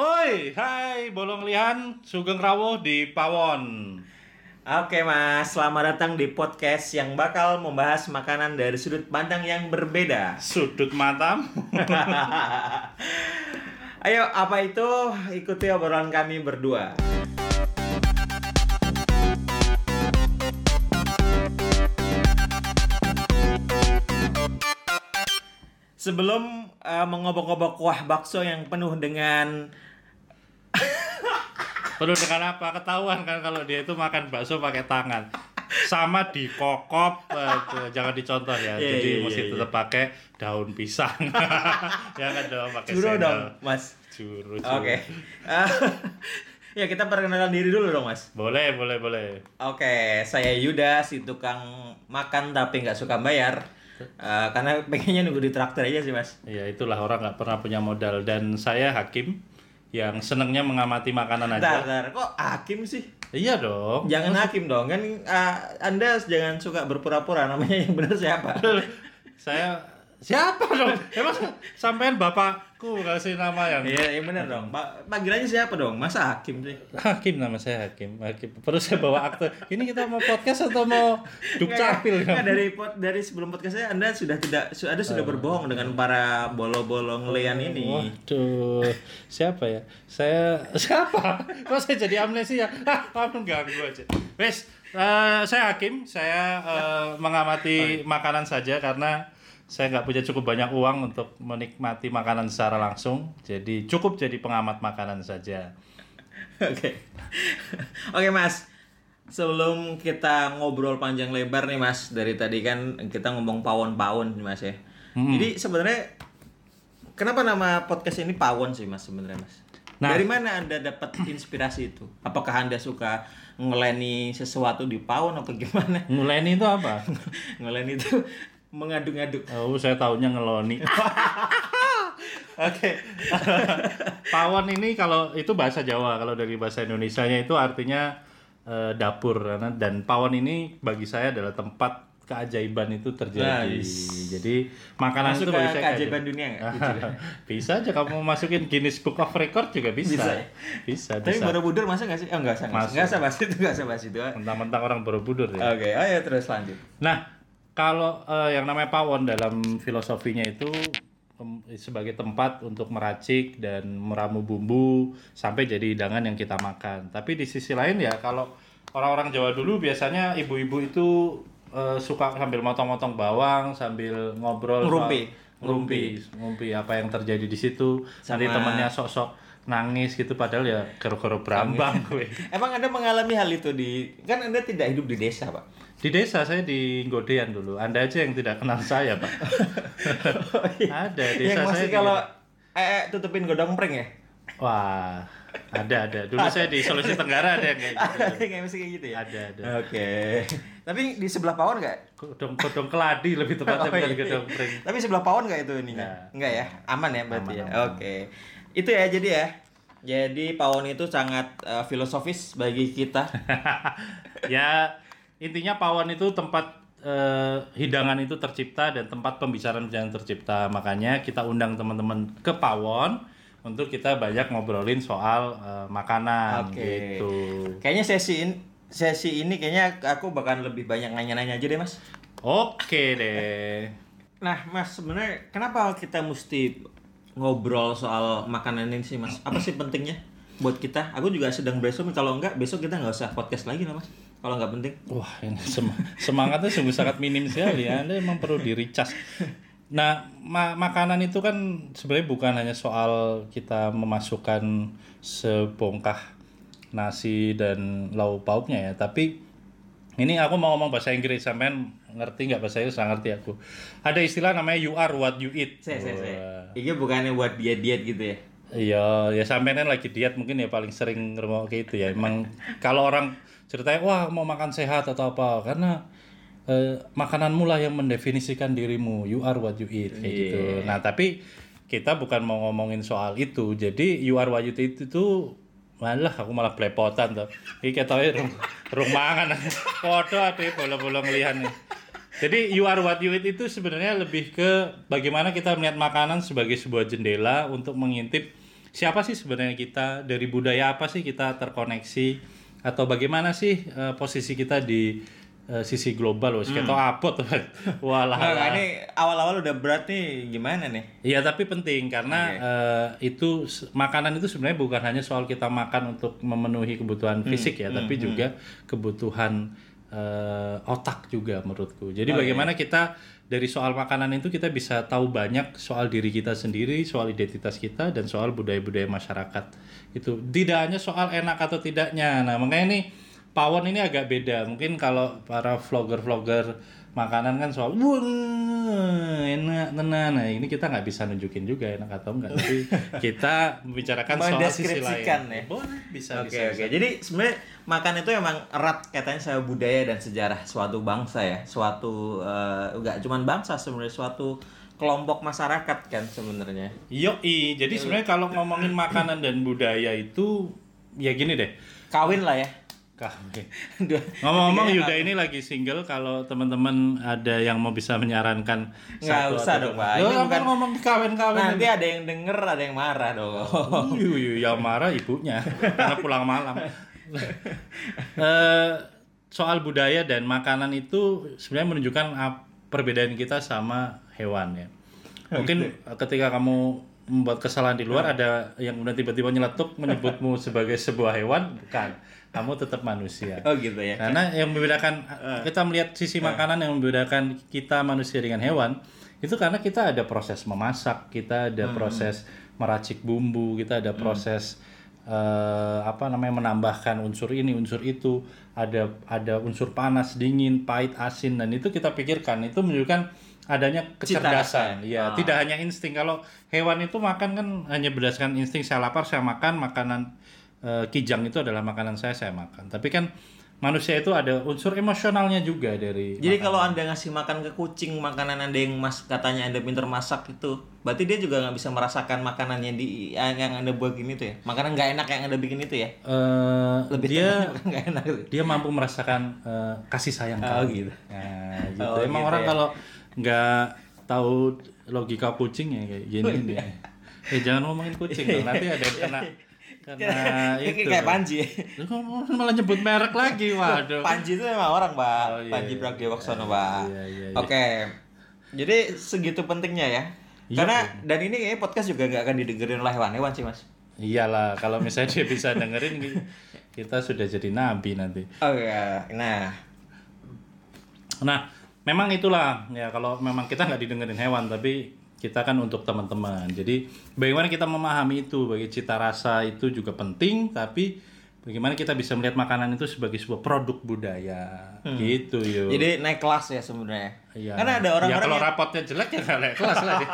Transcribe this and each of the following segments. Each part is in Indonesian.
Oi, hai Bolong Lihan, Sugeng Rawo di Pawon. Oke mas, selamat datang di podcast yang bakal membahas makanan dari sudut pandang yang berbeda. Sudut matamu. Ayo, apa itu? Ikuti obrolan kami berdua. Sebelum eh, mengobok-obok kuah bakso yang penuh dengan Perlu dengan apa? Ketahuan kan kalau dia itu makan bakso pakai tangan. Sama dikokop, eh, jangan dicontoh ya. Iya, Jadi iya, mesti iya, tetap pakai daun pisang. ya kan dong pakai juro sendal. dong, mas. Juru, juru. Oke. Eh, ya kita perkenalan diri dulu dong mas. Boleh, boleh, boleh. Oke, saya Yuda, si tukang makan tapi nggak suka bayar. Eh, karena pengennya nunggu di traktir aja sih mas. Ya itulah orang nggak pernah punya modal dan saya hakim yang senengnya mengamati makanan aja. Bentar, bentar. kok hakim sih? Iya dong. Jangan hakim dong, kan eh, anda jangan suka berpura-pura. Namanya yang benar siapa? saya siapa dong? Emang sampean bapakku kasih nama yang Iya, yang benar dong. Pa- Panggilannya siapa dong? Masa hakim sih? Hakim nama saya Hakim. Hakim. Perlu saya bawa akte. Ini kita mau podcast atau mau dukcapil? Nggak, nggak, dari pod- dari sebelum podcast saya Anda sudah tidak su- Anda sudah berbohong dengan para bolo-bolo ngelian Oh. ini. Waduh, siapa ya? Saya siapa? Kok saya jadi amnesia? Hah, kamu ganggu aja. Wes, eh, saya hakim. Saya eh, mengamati makanan saja karena saya nggak punya cukup banyak uang untuk menikmati makanan secara langsung. Jadi cukup jadi pengamat makanan saja. Oke. Oke, Mas. Sebelum kita ngobrol panjang lebar nih, Mas. Dari tadi kan kita ngomong pawon-pawon nih, Mas ya. Jadi sebenarnya kenapa nama podcast ini Pawon sih, Mas sebenarnya, Mas? Nah. Dari mana Anda dapat inspirasi itu? Apakah Anda suka ngeleni sesuatu di pawon apa gimana? Nguleni itu apa? ngeleni itu mengaduk-aduk. Oh, saya tahunya ngeloni. Oke. Pawon ini kalau itu bahasa Jawa, kalau dari bahasa Indonesianya itu artinya eh, dapur karena dan pawon ini bagi saya adalah tempat keajaiban itu terjadi. Nice. Jadi makanan Masuk itu ke bagi Nah, saya keajaiban dunia nggak? Gitu. bisa aja kamu masukin Guinness Book of Record juga bisa. Bisa Bisa, ya? bisa. Tapi Borobudur masa nggak sih? Oh, nggak usah, nggak usah. Nggak usah bahas itu, nggak usah bahas itu. Mentang-mentang orang Borobudur ya. Oke, ayo terus lanjut. Nah, kalau eh, yang namanya pawon dalam filosofinya itu em, sebagai tempat untuk meracik dan meramu bumbu sampai jadi hidangan yang kita makan. Tapi di sisi lain ya kalau orang-orang Jawa dulu biasanya ibu-ibu itu eh, suka sambil motong-motong bawang, sambil ngobrol Ngerumpi. soal- ngerumpi, ngerumpi apa yang terjadi di situ. Nanti Sama- temannya sok-sok nangis gitu padahal ya gara-gara berambang gue. Emang Anda mengalami hal itu di kan Anda tidak hidup di desa, Pak. Di desa saya di Godean dulu. Anda aja yang tidak kenal saya, Pak. ada desa Oh, iya. Yang saya. masih di- kalau eh, eh, tutupin godong pring ya. Wah, ada ada. Dulu saya di Sulawesi Tenggara ada yang kayak gitu. Kayak masih kayak gitu ya. Ada ada. Oke. Tapi di sebelah pawon nggak? Kodong kodong keladi lebih tepatnya Oh, bukan iya. kodong kering. Tapi sebelah pawon nggak itu ininya? Nggak. Nggak ya? Aman ya berarti Aman, ya. aman. Oke. Itu ya jadi ya. Jadi pawon itu sangat eh, filosofis bagi kita. ya intinya pawon itu tempat eh, hidangan itu tercipta dan tempat pembicaraan-pembicaraan tercipta makanya kita undang teman-teman ke pawon untuk kita banyak ngobrolin soal eh, makanan Oke. gitu Kayaknya sesi in- sesi ini kayaknya aku bakal lebih banyak nanya-nanya aja deh, Mas. oke deh Nah, Mas, sebenarnya kenapa kita mesti ngobrol soal makanan ini sih, Mas? Apa sih pentingnya buat kita? Aku juga sedang brainstorming. Kalau enggak, besok kita nggak usah podcast lagi lah, Mas. Kalau nggak penting. Wah, ini sem- semangatnya sungguh sangat minim sekali ya. Anda memang perlu di-recharge. Nah, ma- makanan itu kan sebenarnya bukan hanya soal kita memasukkan sebongkah nasi dan lauk pauknya ya, tapi ini aku mau ngomong bahasa Inggris sampean ngerti nggak bahasa Inggris? Nggak ngerti aku. Ada istilah namanya you are what you eat. Saya, saya, saya. Wah. Ini bukannya buat diet-diet gitu ya. Iya, ya sampean kan lagi diet mungkin ya paling sering ngerungok kayak gitu ya. Emang kalau orang ceritanya wah mau makan sehat atau apa karena eh, makananmu lah yang mendefinisikan dirimu. You are what you eat kayak gitu. Nah, tapi kita bukan mau ngomongin soal itu. Jadi you are what you eat itu malah aku malah belepotan tuh. Iki ketoke rung, rung mangan. Padha ade bola-bola ngelihan nih. Jadi you are what you eat itu sebenarnya lebih ke bagaimana kita melihat makanan sebagai sebuah jendela untuk mengintip siapa sih sebenarnya kita dari budaya apa sih kita terkoneksi atau bagaimana sih eh, posisi kita di eh, sisi global wes ketok apot walah Nggak, nggak, Nah, ini awal-awal udah berat nih gimana nih? Iya tapi penting karena eh, itu se- makanan itu sebenarnya bukan hanya soal kita makan untuk memenuhi kebutuhan fisik ya, tapi juga kebutuhan eh, otak juga menurutku. Jadi bagaimana kita dari soal makanan itu kita bisa tahu banyak soal diri kita sendiri, soal identitas kita dan soal budaya-budaya masyarakat. Itu tidak hanya soal enak atau tidaknya. Nah, makanya nih Pawon ini agak beda. Mungkin kalau para vlogger-vlogger makanan kan soal "Wuh, enak tenan. Nah, ini kita nggak bisa nunjukin juga enak atau enggak. Tapi kita membicarakan soal sisi lain. Mendeskripsikan ya? Boleh, bisa Oke bisa, oke. Jadi sebenarnya makan itu emang erat katanya saya budaya dan sejarah suatu bangsa ya, suatu eh, nggak cuman bangsa sebenarnya suatu kelompok masyarakat kan sebenarnya. Yoi, jadi sebenarnya kalau ngomongin makanan dan budaya itu ya gini deh. Kawin lah ya. Kami. Dua- Ngomong-ngomong Iya. Yuda ini lagi single kalau teman-teman ada yang mau bisa menyarankan satu Nggak usah atau dong, dua. Pak. Loh, Ini kamu bukan- ngomong kawin-kawin Nanti ada yang denger, ada yang marah dong. Yuh, yuh, yang marah ibunya karena pulang malam. Eh, soal budaya dan makanan itu sebenarnya menunjukkan ap- perbedaan kita sama hewan ya. Mungkin ketika kamu membuat kesalahan di luar ada yang kemudian tiba-tiba nyeletuk menyebutmu sebagai sebuah hewan bukan. Kamu tetap manusia. Kan? Oh gitu ya. Eh. Karena yang membedakan kita melihat sisi makanan yang membedakan kita manusia dengan hewan itu karena kita ada proses memasak, kita ada Hmm. proses meracik bumbu, kita ada proses eh, apa namanya menambahkan unsur ini, unsur itu, ada ada unsur panas, dingin, pahit, asin dan itu kita pikirkan. Itu menunjukkan adanya Cita kecerdasan. rasa. Iya, Ah. tidak hanya insting. Kalau hewan itu makan kan hanya berdasarkan insting. Saya lapar, saya makan makanan eh, kijang itu adalah makanan saya, saya makan. Tapi kan manusia itu ada unsur emosionalnya juga dari Jadi kalau anda ngasih makan ke kucing makanan anda yang mas katanya anda pinter masak itu, berarti dia juga nggak bisa merasakan makanannya di yang yang anda buat gini tuh ya. Makanan nggak enak yang anda bikin itu ya. eh, Lebih dia Nah, tepatnya bukan nggak enak. dia mampu merasakan eh, kasih sayang Oh, kami. gitu. Nah, gitu. Oh, Emang gitu orang ya. kalau nggak tahu logika kucing ya kayak gini Oh, dia. iya. Eh jangan ngomongin kucing dong, nanti ada yang kena kena Kayak- itu. kayak Panji. Lu kok malah nyebut merek lagi, waduh. Panji itu memang orang, Pak. Oh, iya, iya. Panji Pragiwaksono, Iya, Pak. iya, iya, iya. Oke. Jadi segitu pentingnya ya. Iya, Karena dan ini kayaknya podcast juga nggak akan didengerin oleh hewan-hewan sih, Mas. Iyalah, kalau misalnya dia bisa dengerin ki- kita sudah jadi nabi nanti. Oke. Oh, Nah, Nah, memang itulah ya kalau memang kita nggak didengerin hewan tapi kita kan untuk teman-teman. Jadi bagaimana kita memahami itu, bagi cita rasa itu juga penting tapi bagaimana kita bisa melihat makanan itu sebagai sebuah produk budaya. Gitu yo. jadi naik kelas ya sebenarnya. Iya. Karena ada ya, orang-orang kalau yang- rapotnya jelek ya nggak naik kelas lah dia.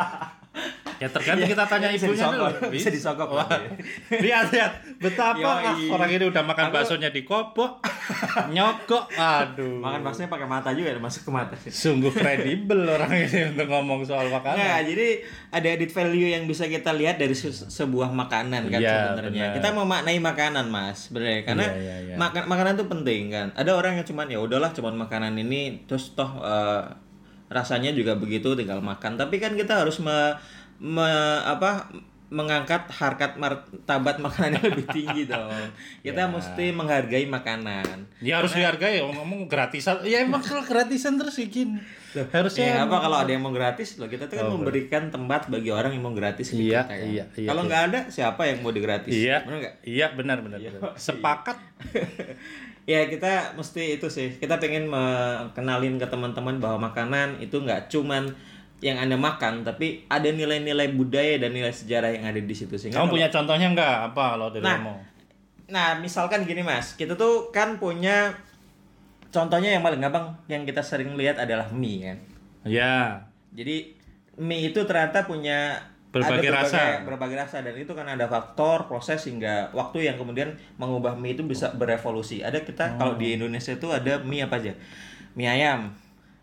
Ya tergantung kita tanya Iya. bisa ibunya dulu. disogok. Bisa disogok Wah. lagi. Lihat lihat betapa Yoi. ah, orang ini udah makan baksonya di kopok, nyogok. Aduh. makan maksudnya pakai mata juga ada masuk ke mata. Sungguh kredibel orang ini untuk ngomong soal makanan. Nah, jadi ada added value yang bisa kita lihat dari se- sebuah makanan kan Iya, benar. sebenarnya. Kita memaknai makanan, Mas, sebenarnya. Karena Iya, iya, iya. makan makanan itu penting kan. Ada orang yang cuman ya udahlah cuman makanan ini terus toh eh, rasanya juga begitu tinggal makan. Tapi kan kita harus me, me- apa mengangkat harkat martabat makanan yang lebih tinggi dong. Kita mesti menghargai makanan. Ya harus Iya. dihargai ya, ngomong gratisan. Ya emang kalau gratisan terus bikin. Ya, Harusnya apa kalau ada yang mau gratis loh kita tuh kan memberikan tempat bagi orang yang mau gratis Oh, di Iya, kita kan. iya, iya, kalau nggak ada siapa yang mau digratis? Iya. Benar nggak? Iya benar benar. benar. Sepakat. ya kita mesti itu sih. Kita pengen mengenalin ke teman-teman bahwa makanan itu nggak cuman yang anda makan, tapi ada nilai-nilai budaya dan nilai sejarah yang ada di situ sehingga Kamu punya contohnya enggak apa kalau dari Iya. Nah. kamu? Nah, misalkan gini Mas, kita tuh kan punya contohnya yang paling gampang yang kita sering lihat adalah mie kan. Ya. Jadi mie itu ternyata punya Berbagai ada rasa. berbagai rasa dan itu kan ada faktor proses hingga waktu yang kemudian mengubah mie itu bisa berevolusi. Ada Oh. kita kalau di Indonesia itu ada mie apa aja? Mie ayam,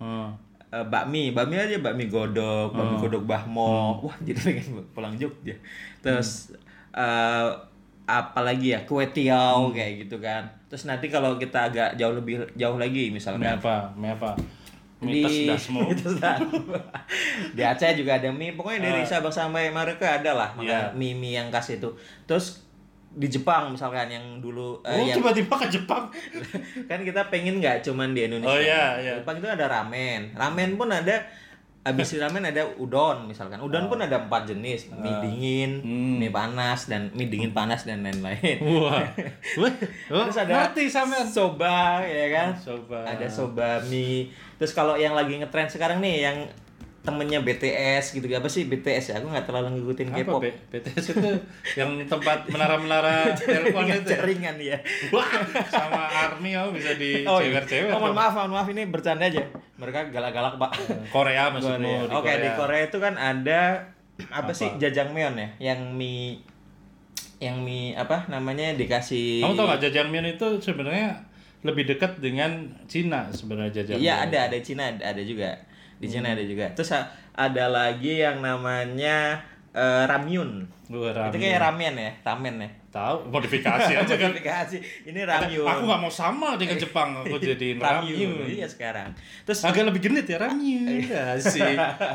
Hmm. eh, bakmi, bakmi aja bakmi godok, bakmi Oh. godok bahmo. Hmm. Wah, jadi pengen pulang Jogja. Terus Hmm. eh, apalagi ya kue tiaw kayak gitu kan. Terus nanti kalau kita agak jauh lebih jauh lagi misalnya Mie apa? Mie apa? Mitos dasmu. mitos dasmu. di Aceh juga ada mie pokoknya dari Sabang sampai Merauke ada lah Eh. Iya. maka mie mie yang khas itu terus di Jepang misalkan yang dulu eh, Oh, yang- tiba-tiba ke Jepang. kan kita pengen nggak cuman di Indonesia. Oh, iya, iya. Di Jepang itu ada ramen. Ramen pun ada habis ramen ada udon misalkan. Oh. Udon pun ada empat jenis, mie Ah. dingin, Hmm. mie panas dan mie dingin panas dan lain-lain. Wah. Wah. Terus ada Ngerti sampean. soba ya kan? Soba. Ada soba mie. Terus kalau yang lagi ngetrend sekarang nih yang temennya BTS gitu apa sih BTS ya aku nggak terlalu ngikutin Apa K-pop B? BTS itu yang tempat menara-menara telepon itu. ya? jaringan ya Iya, Wah, sama Army oh bisa di oh, iya. cewer-cewer. oh mohon maaf mohon maaf ini bercanda aja mereka galak-galak pak Korea maksudmu Korea. Iya, di Oke, Korea. di Korea itu kan ada apa, Apa? sih jajangmyeon ya? Yang mie yang mie apa namanya dikasih Kamu tau gak jajangmyeon itu sebenarnya lebih dekat dengan Cina sebenarnya jajangmyeon. Iya, ada ada Cina ada ada juga. Di Hmm. Cina ada juga. Terus a- ada lagi yang namanya eh, ramyun. Gua Itu ramen. kayak ramen ya, ramen ya. Tahu modifikasi aja kan. Modifikasi. Ini ramyun. Aku gak mau sama dengan Jepang, aku jadiin ramyun. Iya sekarang. Terus Agak lebih genit ya ramyun. Iya sih.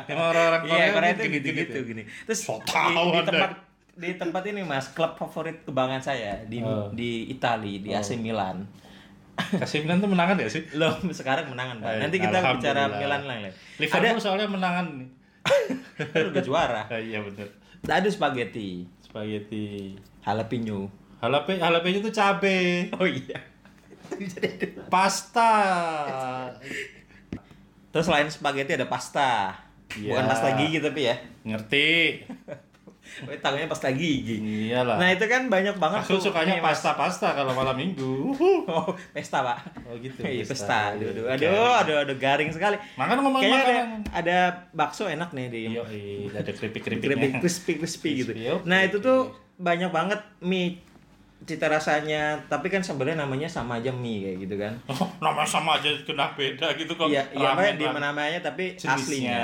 Emang orang-orang Korea, Iya, Korea itu genit-genit gitu gitu ya. gini. Terus So di, tau di Anda. tempat di tempat ini Mas, klub favorit kebanggaan saya di Oh. di Itali, di AC Milan. Kasih Milan tuh menangan ya sih? Loh, sekarang menangan, Pak. Eh, Nanti kita bicara Alhamdulillah. Milan lain. Liverpool soalnya menangan nih. Kan udah juara. Ah, iya bener. Ada spaghetti, Spaghetti. jalapeno. Halape, halapenya tuh cabe. Oh iya. Jadi- Pasta. Terus selain spaghetti ada pasta. Iya. Bukan pasta gigi tapi ya. Ngerti? Eh, Tangannya pasta gigi. Iyalah. Nah, itu kan banyak banget Aku tuh. sukanya Nih, Mas. pasta-pasta kalau malam minggu. Uhuh. Oh, pesta, Pak. Oh gitu. Iya, pesta. pesta. Aduh, aduh, Oke. aduh, aduh, aduh, garing sekali. Makan ngomongin Kayaknya ada, makanan. ada bakso enak nih di Iya, iya, ada keripik keripik-keripiknya. crispy crispy gitu. Crispy, oke, Nah itu oke. tuh banyak banget mie cita rasanya, tapi kan sebenarnya namanya sama aja mie kayak gitu kan. Oh, namanya sama aja kena beda gitu kok. Iya, iya Ramen, makanya di ramen. namanya tapi Jenisnya. aslinya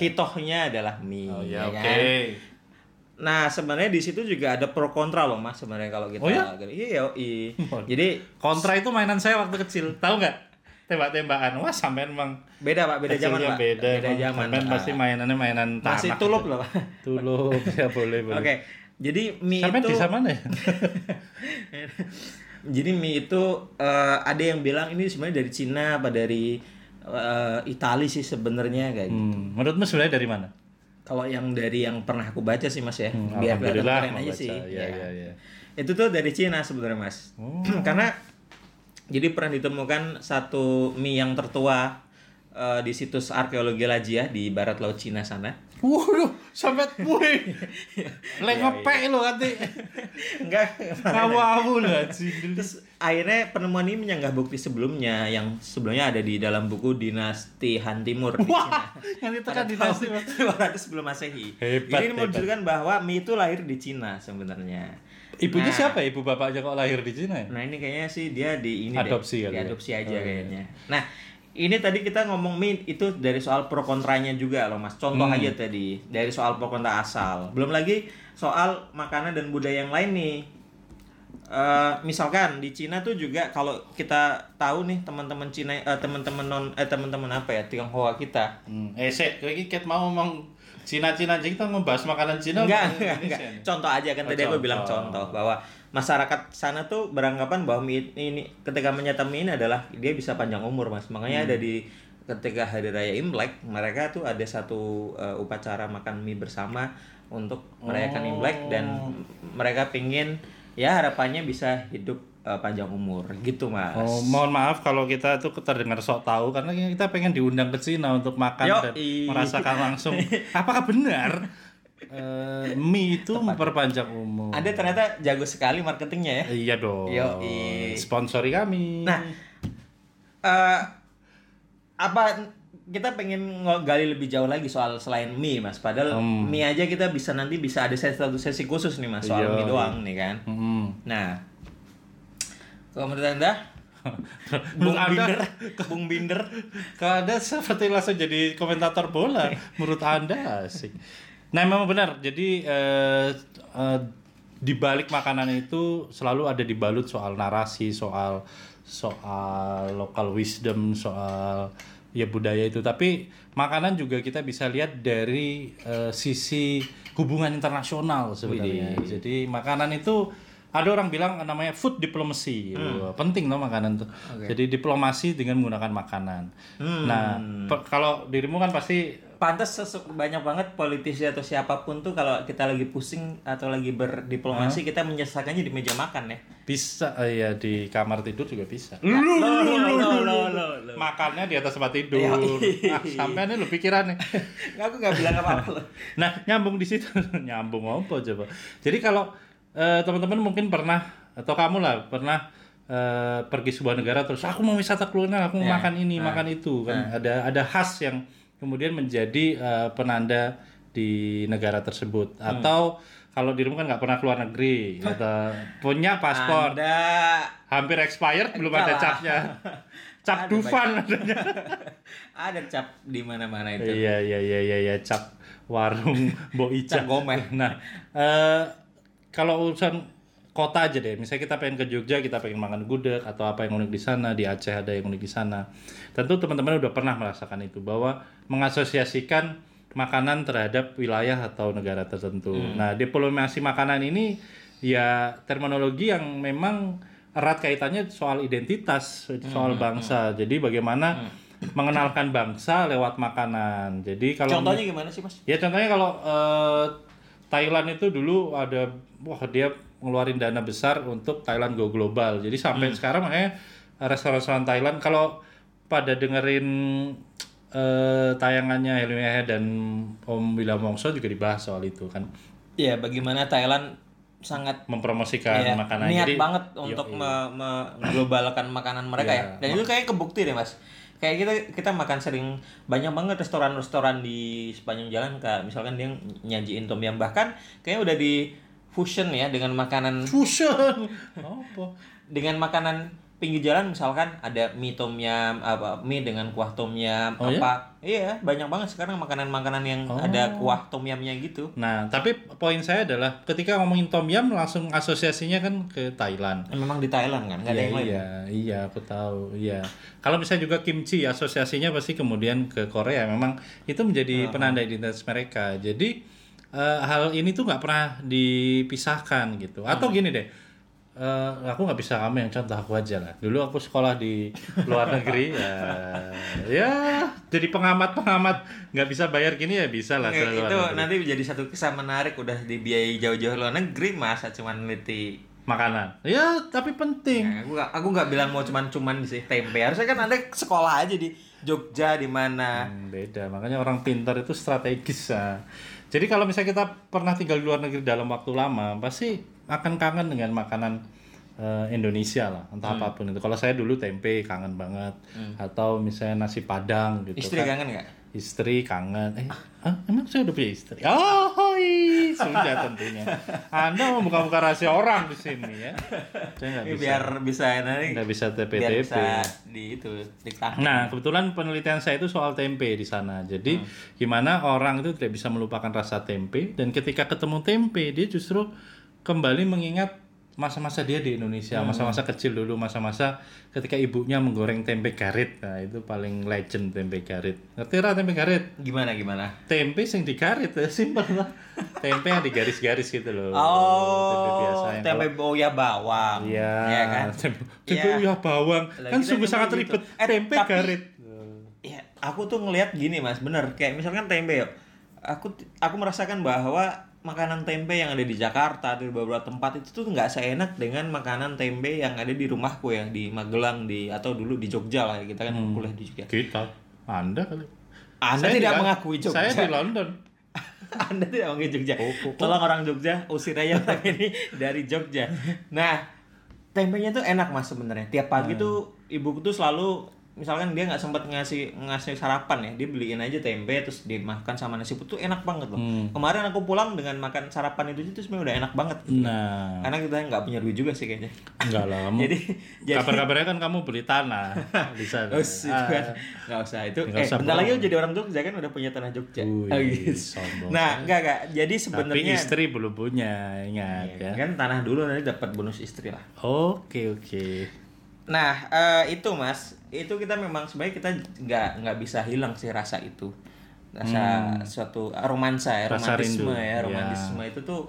hitohnya adalah mie. Oh iya, ya oke. kan? Nah sebenarnya di situ juga ada pro kontra loh mas sebenarnya kalau kita. Oh ya? Iya, iya. Waduh. Jadi Kontra itu mainan saya waktu kecil, tahu nggak? Tembak-tembakan. Wah, sampean emang beda pak, beda zaman kecilnya pak. Beda, beda emang. zaman. Sampean Pak. pasti mainannya mainan tanah. gitu. masih tulup loh pak. Tulup, ya boleh, boleh. Oke, jadi mie Sampean itu. bisa mana ya? Jadi mie itu eh, ada yang bilang ini sebenarnya dari Cina apa dari eh, Itali sih sebenarnya kayak gitu. Hmm, menurutmu sebenarnya dari mana? Kalau yang dari yang pernah aku baca sih Mas ya. Hmm, biar kelihatan Alhamdulillah, keren aja membaca. sih. Iya, ya. iya, Oh. iya. Itu tuh dari Cina sebenarnya Mas. Karena jadi pernah ditemukan satu mie yang tertua eh, di situs arkeologi Lajia di barat laut Cina sana. Waduh, sampai gue. Lek ngepek lo nanti. Enggak. iya. Awu-awu lo anjing. Terus akhirnya penemuan ini menyanggah bukti sebelumnya yang sebelumnya ada di dalam buku Dinasti Han Timur di Cina. Wah, nanti tekan di nasi. kan Mas. 500 sebelum masehi. Hebat, Jadi ini hebat. menunjukkan bahwa mie itu lahir di Cina sebenarnya. Ibunya Nah. siapa ya? Ibu bapaknya kok lahir di Cina ya? Nah ini kayaknya sih dia di ini Adopsi deh. kali ya? Diadopsi aja Oh, iya. kayaknya. Nah ini tadi kita ngomong mie itu dari soal pro kontranya juga loh mas. Contoh Hmm. aja tadi dari soal pro kontra asal. Belum lagi soal makanan dan budaya yang lain nih. Eh, misalkan di Cina tuh juga kalau kita tahu nih teman-teman Cina eh, teman-teman non eh teman-teman apa ya Tionghoa kita Hmm. Eh, Sek, kayak gini ket mau ngomong Cina-Cina aja kita ngebahas makanan Cina. enggak, makanan enggak, Indonesia enggak. nih. Contoh aja kan Oh, tadi aku bilang contoh. contoh bahwa masyarakat sana tuh beranggapan bahwa mie ini ketika menyantap mie ini adalah dia bisa panjang umur, Mas. Makanya Hmm. ada di ketika hari raya Imlek, mereka tuh ada satu uh, upacara makan mie bersama untuk merayakan Oh. Imlek dan mereka pingin ya harapannya bisa hidup uh, panjang umur gitu, Mas. Oh, mohon maaf kalau kita tuh terdengar sok tahu karena kita pengen diundang ke Cina untuk makan Yo, dan i. merasakan langsung apakah benar eh, mie itu memperpanjang umur. Ada ternyata jago sekali marketingnya ya. Iya dong. Yo, i. Sponsori kami. Nah, eh apa kita pengen gali lebih jauh lagi soal selain mie mas padahal mie aja kita bisa nanti bisa ada sesi satu sesi khusus nih mas soal Iya. mie doang nih kan Mm. nah kalau menurut anda Menurut bung Anda- binder bung binder Kada seperti langsung jadi komentator bola menurut Anda sih. Nah, memang benar. Jadi eh, eh, di balik makanan itu selalu ada dibalut soal narasi, soal soal local wisdom, soal ya budaya itu tapi makanan juga kita bisa lihat dari eh, sisi hubungan internasional sebenarnya jadi makanan itu ada orang bilang namanya food diplomacy Wah, penting loh makanan tuh jadi diplomasi dengan menggunakan makanan nah pe- kalau dirimu kan pasti Pantas sesu- banyak banget politisi atau siapapun tuh kalau kita lagi pusing atau lagi berdiplomasi kita menyelesaikannya di meja makan ya. bisa eh, ya di kamar tidur juga bisa Lo lo lo lo lo. lo. makannya di atas tempat tidur Yoi. ah, sampai ini lu pikiran nih Nggak, aku nggak bilang apa-apa loh. nah nyambung di situ nyambung apa coba jadi kalau eh, teman-teman mungkin pernah atau kamu lah pernah eh, pergi sebuah negara terus aku mau wisata kuliner aku mau Iya. makan ini Nah. makan itu kan ada ada khas yang kemudian menjadi eh, penanda di negara tersebut Hmm. atau kalau dirimu kan nggak pernah keluar negeri atau punya paspor Anda hampir expired belum Enggak ada lah. capnya cap Ada dufan adanya ada cap di mana-mana itu. Iya iya iya iya iya cap warung Mbok Ica. Cap gomeh. Nah, eh kalau urusan kota aja deh. Misalnya kita pengen ke Jogja, kita pengen makan gudeg atau apa yang unik di sana, di Aceh ada yang unik di sana. Tentu teman-teman udah pernah merasakan itu bahwa mengasosiasikan makanan terhadap wilayah atau negara tertentu. Nah, diplomasi makanan ini ya terminologi yang memang erat kaitannya soal identitas, soal bangsa. Jadi bagaimana mengenalkan bangsa lewat makanan. Jadi kalau Contohnya gimana sih mas? Ya contohnya kalau eh, Thailand itu dulu ada wah dia ngeluarin dana besar untuk Thailand go global. Jadi sampai Hmm. sekarang makanya restoran-restoran Thailand kalau pada dengerin eh, tayangannya Helmi Yahya dan Om William Wongso juga dibahas soal itu kan Ya bagaimana Thailand sangat mempromosikan Iya, makanan. niat Jadi banget untuk me- mengglobalkan makanan mereka Iya. ya dan itu kayak kebukti deh mas kayak kita kita makan sering banyak banget restoran-restoran di sepanjang jalan kak misalkan dia nyajiin tom yum bahkan kayaknya udah di fusion ya dengan makanan fusion. Apa? dengan makanan pinggir jalan misalkan ada mie tom yum apa mie dengan kuah tom yum Oh, iya? apa iya banyak banget sekarang makanan-makanan yang ada Oh. kuah tom yumnya gitu Nah, tapi poin saya adalah ketika ngomongin Tom Yam langsung asosiasinya kan ke Thailand. memang di Thailand kan nggak ada Iya, yang lain iya, iya, aku tahu. Iya. Kalau misalnya juga kimchi, ya, asosiasinya pasti kemudian ke Korea. Memang itu menjadi penanda identitas mereka. Jadi eh, hal ini tuh nggak pernah dipisahkan gitu. Hmm. Atau gini deh, eh, aku nggak bisa kamu yang contoh aku aja lah. Dulu aku sekolah di luar negeri, ya, ya jadi pengamat-pengamat nggak bisa bayar gini ya bisa lah. Oke, ke luar Iya, itu nah negeri. nanti jadi satu kisah menarik udah dibiayai jauh-jauh luar negeri masa cuman neliti Makanan. Ya, tapi penting. Nah, aku gak, aku nggak bilang mau cuman cuman sih tempe harusnya kan ada sekolah aja di Jogja di mana Hmm, beda makanya orang pintar itu strategis ah. jadi kalau misalnya kita pernah tinggal di luar negeri dalam waktu lama pasti akan kangen dengan makanan eh, Indonesia lah entah Hmm. apapun itu kalau saya dulu tempe kangen banget atau misalnya nasi padang gitu istri kan. kangen nggak istri kangen eh hah? emang saya udah punya istri oh hoi sudah tentunya anda mau buka-buka rahasia orang di sini ya saya nggak Ini bisa biar bisa nanti nggak bisa TPTP biar bisa di itu ditangkap Nah, kebetulan penelitian saya itu soal tempe di sana. Jadi, Hmm. gimana orang itu tidak bisa melupakan rasa tempe dan ketika ketemu tempe, dia justru kembali mengingat masa-masa dia di Indonesia, Hmm. masa-masa kecil dulu, masa-masa ketika ibunya menggoreng tempe garit. Nah, itu paling legend tempe garit. Ngerti ra tempe garit? gimana gimana Tempe yang digarit, ya, simple lah. tempe yang digaris-garis gitu loh. tempe biasa oh yang tempe boya bawang Iya. Iya kan Tempe, Iya. tempe uyah bawang. Lah, kan kita sungguh tempe sangat gitu. ribet. Eh, tempe tapi- garit. Ya, aku tuh ngelihat gini mas, bener. Kayak misalkan tempe, yuk. aku aku merasakan bahwa makanan tempe yang ada di Jakarta atau di beberapa tempat itu tuh nggak seenak dengan makanan tempe yang ada di rumahku ya di Magelang di atau dulu di Jogja lah kita kan kuliah di Jogja. Kita. Anda kali. Anda Saya tidak di- mengakui Jogja. Saya di London. Anda tidak mengakui Jogja. Tolong orang Jogja usir aja orang ini dari Jogja. Nah, tempenya tuh enak mas sebenarnya. Tiap pagi Hmm. tuh ibuku tuh selalu misalkan dia nggak sempat ngasih ngasih sarapan ya, dia beliin aja tempe terus dimakan sama nasi putih tuh enak banget loh. Hmm. Kemarin aku pulang dengan makan sarapan itu aja tuh sebenarnya udah enak banget. gitu. Nah, Hmm. Karena kita nggak punya duit juga sih kayaknya. enggak lah kamu. Jadi jadi Kabar-kabarnya kan kamu beli tanah di sana. Oh, sih, Ah. kan. Nggak usah itu. Nggak eh, usah bentar lagi bohong. lu jadi orang Jogja kan udah punya tanah Jogja. Wih, Oh, gitu. sombong. Nah, enggak enggak. Jadi Tapi sebenarnya istri belum punya, ingat ya. Iya, kan tanah dulu nanti dapat bonus istri lah Oke, oke. Nah, eh, itu Mas, itu kita memang sebenarnya kita nggak nggak bisa hilang sih rasa itu. Rasa suatu eh, romansa ya, Hmm. Rasa romantisme rindu, ya, ya. romantisme itu tuh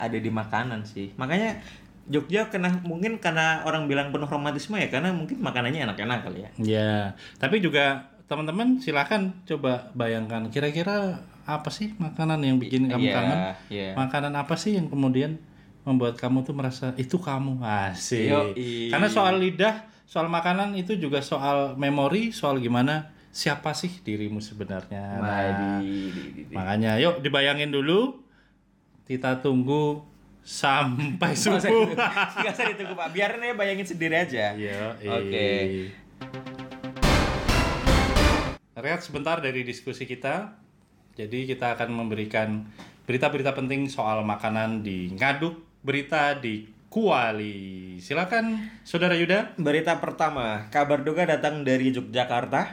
ada di makanan sih. Makanya Jogja kena mungkin karena orang bilang penuh romantisme ya karena mungkin makanannya enak-enak kali ya. Ya, tapi juga teman-teman silahkan coba bayangkan kira-kira apa sih makanan yang bikin kamu Iya, kangen? iya. Makanan apa sih yang kemudian membuat kamu tuh merasa itu kamu asik? Yoi. Karena soal lidah, soal makanan itu juga soal memori, soal gimana siapa sih dirimu sebenarnya. Nah, di- di- di- di- makanya yuk dibayangin dulu. Kita tunggu sampai subuh. Nggak usah ditunggu Pak, biarin aja bayangin sendiri aja. Iya. Oke. Rehat sebentar dari diskusi kita. Jadi kita akan memberikan berita-berita penting soal makanan di ngaduk berita di Kuali. Silakan Saudara Yuda. Berita pertama, kabar duka datang dari Yogyakarta,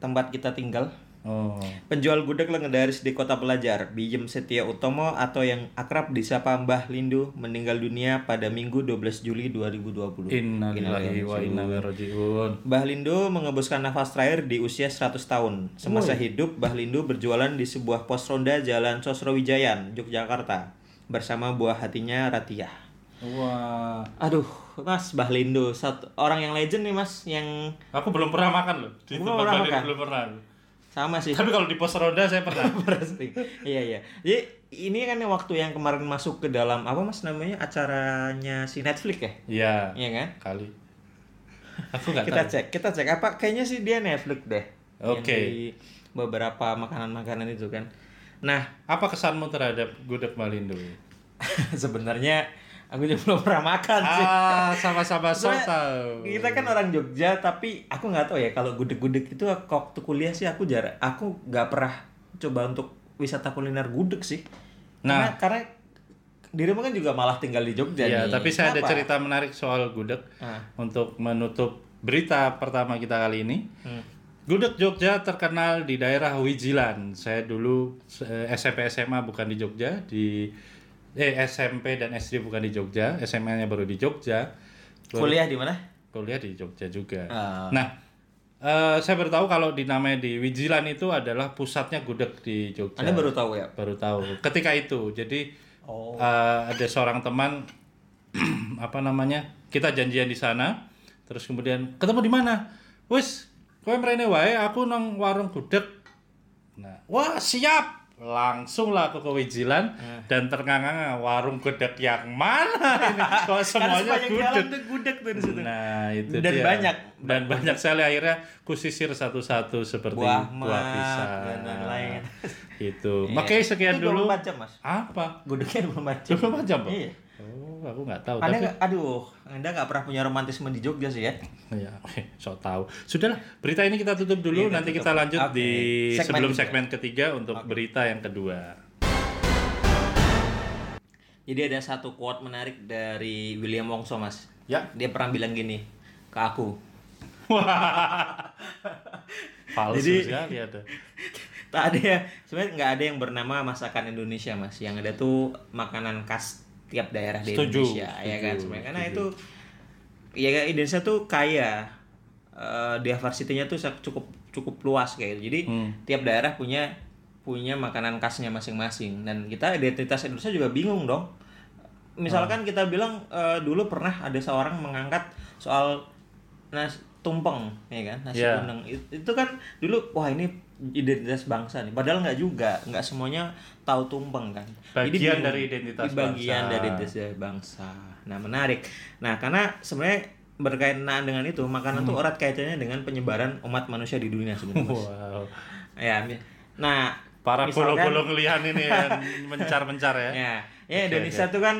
tempat kita tinggal. Oh. Penjual gudeg legendaris di Kota Pelajar, Biyem Setia Utomo atau yang akrab disapa Mbah Lindu meninggal dunia pada Minggu 12 Juli 2020. Innalillahi wa inna ilaihi rajiun. Mbah Lindu mengembuskan nafas terakhir di usia 100 tahun. Semasa hidup, Mbah Lindu berjualan di sebuah pos ronda Jalan Sosrowijayan, Yogyakarta, bersama buah hatinya Ratiah. Wah, Aduh, Mas Mbah Lindu, satu orang yang legend nih Mas, yang aku belum pernah makan loh. Di tempat Belum pernah Bali makan? belum pernah. sama sih. Tapi kalau di pos ronda saya pernah. Pasti. Iya iya. Jadi ini kan yang waktu yang kemarin masuk ke dalam apa mas namanya acaranya si Netflix ya? Iya, Iya kan? kali. Aku nggak Kita tahu. cek, kita cek apa? Kayaknya sih dia Netflix deh. Yang Oke. di beberapa makanan-makanan itu kan. Nah Apa kesanmu terhadap gudeg Malindo? sebenarnya aku juga belum pernah makan sih. Ah, sama-sama so Soalnya tau. Kita kan orang Jogja tapi aku nggak tahu ya kalau gudeg-gudeg itu aku- waktu kuliah sih aku jarak aku nggak pernah coba untuk wisata kuliner gudeg sih. Nah, karena, karena dirimu kan juga malah tinggal di Jogja Iya, nih. tapi saya ada Kenapa? cerita menarik soal gudeg Ah. untuk menutup berita pertama kita kali ini. Gudeg Jogja terkenal di daerah Wijilan. Saya dulu eh, SMP SMA bukan di Jogja, di eh SMP dan SD bukan di Jogja, SMA-nya baru di Jogja. Kuliah di mana? kuliah di Jogja juga. Ah. Nah, eh, saya baru tahu kalau di namanya di Wijilan itu adalah pusatnya gudeg di Jogja. Anda baru tahu ya? Baru tahu. Ketika itu, jadi Oh. eh, ada seorang teman apa namanya? Kita janjian di sana, terus kemudian ketemu di mana? Wes, kowe mrene wae, aku nang warung gudeg. Nah, wah siap. Langsung lah aku ke Wijilan Eh. dan ternganga warung gudeg yang mana ini? Kok semuanya gudeg? tuh gudeg tuh di situ. Nah, itu dia. Dan banyak. Dan banyak sekali akhirnya kusisir satu-satu seperti Buah buah, mat, ya, pisang. dan lain-lain. Itu. Makanya sekian Iya. Itu dulu. 24 jam, Mas. Apa? Gudegnya 24 jam. 24 jam, Pak? Iya. Oh, aku nggak tahu. Anda Tapi nggak- aduh, Anda nggak pernah punya romantisme di Jogja sih ya? ya, so tahu. Sudahlah, berita ini kita tutup dulu. Iya, kita Nanti tutup. kita lanjut Oke. di Segmen sebelum kedua. segmen ketiga untuk berita yang kedua. Jadi ada satu quote menarik dari William Wongso, Mas. Ya. Dia pernah bilang gini ke aku. Palsu Jadi- sekali ada. Tak ada ya. Sebenarnya nggak ada yang bernama masakan Indonesia, Mas. Yang ada tuh makanan khas tiap daerah di Setuju, Indonesia, ya setuju, kan? Sebenarnya karena setuju. itu ya kan, Indonesia tuh kaya eh diversity-nya tuh sak- cukup cukup luas kayak gitu. Jadi Hmm. tiap daerah punya punya makanan khasnya masing-masing dan kita identitas Indonesia juga bingung dong. Ah. Misalkan kita bilang eh, dulu pernah ada seorang mengangkat soal nasi tumpeng, ya kan? Nasi Iya. kuning. It- Itu kan dulu wah ini identitas bangsa nih. Padahal nggak juga, nggak semuanya tahu tumpeng kan. Bagian Jadi bingung. dari identitas Ini bagian bangsa. dari identitas bangsa. Nah, menarik. Nah, karena sebenarnya berkaitan dengan itu, makanan tuh erat kaitannya dengan penyebaran umat manusia di dunia sebenarnya. Mas. Hmm. Wow. ya. mi- Nah, Para misalkan- gulung-gulung lian ini yang mencar-mencar ya. Ya, ya Oke, Indonesia tuh kan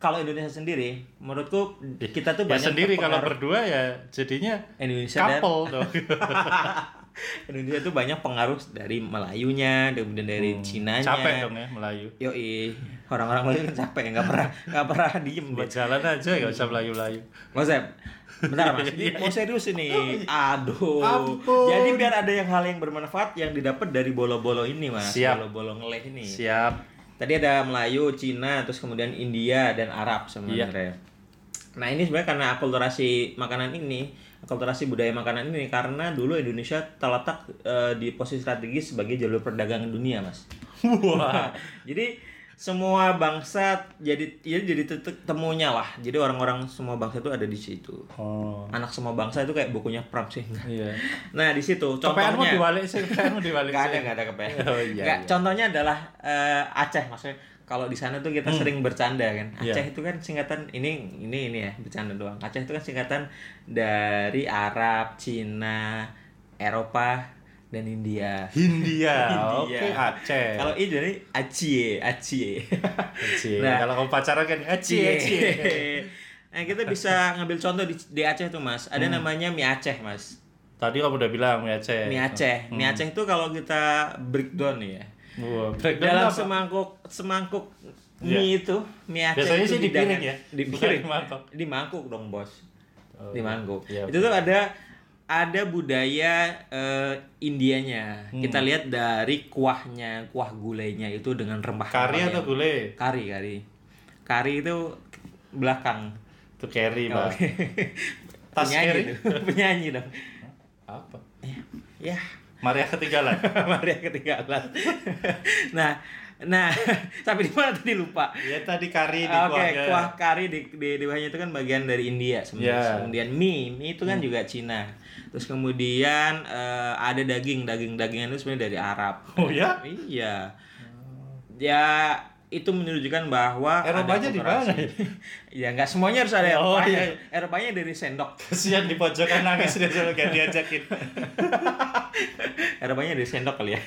kalau Indonesia sendiri, menurutku kita tuh Ya banyak sendiri kalau terpengaruh- berdua ya jadinya Indonesia dan- couple dong. Indonesia tuh banyak pengaruh dari Melayunya, kemudian dari Cinanya. Hmm, Capek dong ya Melayu. Yoi, orang-orang Melayu kan capek, nggak pernah nggak pernah diem Buat dia. jalan aja nggak usah melayu-layu. Mas Sep, bentar mas, ini mau serius ini. Aduh. Iya. Oh, Ampun. Jadi biar ada yang hal yang bermanfaat yang didapat dari bolo-bolo ini mas. Siap. Bolo-bolo ngeleh ini. Siap. Tadi ada Melayu, Cina, terus kemudian India dan Arab sebenarnya. Nah ini sebenarnya karena akulturasi makanan ini, akulturasi budaya makanan ini karena dulu Indonesia terletak eh, di posisi strategis sebagai jalur perdagangan dunia, mas. Wah. jadi semua bangsa jadi ya jadi titik temunya lah. Jadi orang-orang semua bangsa itu ada di situ. Oh. Anak semua bangsa itu kayak bukunya Pram sih. Iya. Nah di situ Kepean mau contohnya. dibalik sih, kepean mau dibalik Gak ada, sih. gak ada kepean. Oh, iya, Nggak, iya. Contohnya adalah eh, Aceh, maksudnya kalau di sana tuh kita Hmm. sering bercanda kan. Iya. Aceh itu kan singkatan ini ini ini ya bercanda doang. Aceh itu kan singkatan dari Arab, Cina, Eropa dan India. Iya, Hindia. Hindia. Oke, Aceh. Kalau ini dari Aceh, Aceh. Aceh. Nah. Kalau kamu pacaran kan Aceh, Aceh. Aceh. Nah, kita bisa ngambil contoh di, di Aceh tuh, Mas. Ada Hmm. namanya mie Aceh, Mas. Tadi kamu udah bilang mie Aceh. Mie Aceh. Hmm. Mie Aceh itu kalau kita breakdown nih ya. Wah, breakdown dalam apa? semangkuk semangkuk Iya. mie itu mie Aceh Biasanya itu sih di piring hidangan- ya? di Bukan piring di mangkok. di mangkuk dong bos Oh, di mangkuk iya, itu tuh ada ada budaya eh, Indianya kita Hmm. lihat dari kuahnya kuah gulainya itu dengan rempah Kari atau gulai? kari kari kari itu belakang Oh. Itu carry, Mbak. Tas penyanyi kari? dong. penyanyi dong Apa? ya Maria ketinggalan. Maria ketinggalan nah nah sampai di mana tadi lupa ya tadi kari di Ah, Oke, kuahnya. kuah kari di di, di bawahnya itu kan bagian dari India sebenarnya. Yeah. Kemudian mie, mie itu Hmm. kan juga Cina. Terus kemudian eh, ada daging, daging-dagingan itu sebenarnya dari Arab. Oh ya? Iya. Ya itu menunjukkan bahwa ada Eropanya di akulturasi. mana ya? ya nggak semuanya harus ada Oh, Eropanya. iya. Eropanya dari sendok. Kesian di pojokan nangis dia sama kayak diajakin. Eropanya dari sendok kali ya.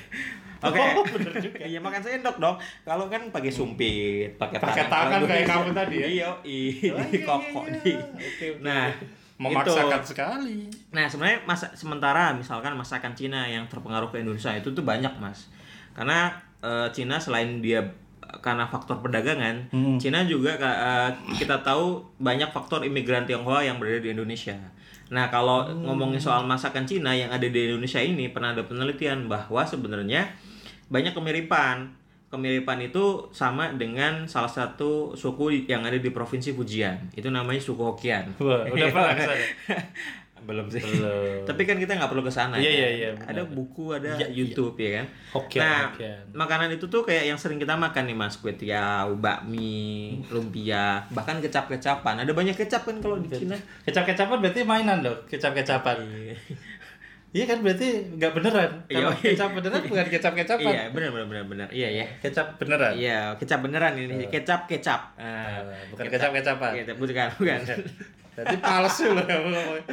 Oke. Oh, bener juga. Hmm. Iya makan sendok dong. Kalau kan pakai sumpit, pakai tangan. Pakai tangan Kalau gue- kayak kamu tadi ya? Iya, i- Oh, di iya, kokok iya, di. iya. Oke, oke. Nah, Memaksakan itu. sekali. Nah, sebenarnya masa sementara misalkan masakan Cina yang terpengaruh ke Indonesia itu tuh banyak, Mas. Karena eh, Cina selain dia eh, karena faktor perdagangan, Hmm. Cina juga ka- eh, kita tahu banyak faktor imigran Tionghoa yang berada di Indonesia. Nah, kalau ngomongin soal masakan Cina yang ada di Indonesia ini pernah ada penelitian bahwa sebenarnya banyak kemiripan. Kemiripan itu sama dengan salah satu suku yang ada di provinsi Fujian. Itu namanya suku Hokkien. Wah, udah pernah ke sana? Belum sih. Iya. Belum. Tapi kan kita nggak perlu ke sana. Iya, ya. iya, iya, benar. Ada buku, ada Iya, YouTube ya kan. Hokkien, nah, Hokkien. makanan itu tuh kayak yang sering kita makan nih Mas, kue tiaw, bakmi, lumpia, bahkan kecap-kecapan. Ada banyak kecap kan kalau di Cina. Kecap-kecapan berarti mainan loh, kecap-kecapan. Iya kan berarti nggak beneran. Kalau Iya. kecap beneran bukan kecap-kecapan. Iya, benar benar benar benar. Iya ya. Kecap beneran. Iya, kecap beneran ini. Kecap kecap. Ah, Ah, bukan kecap-kecapan. Iya, bukan, bukan. Berarti palsu loh kamu ngomong.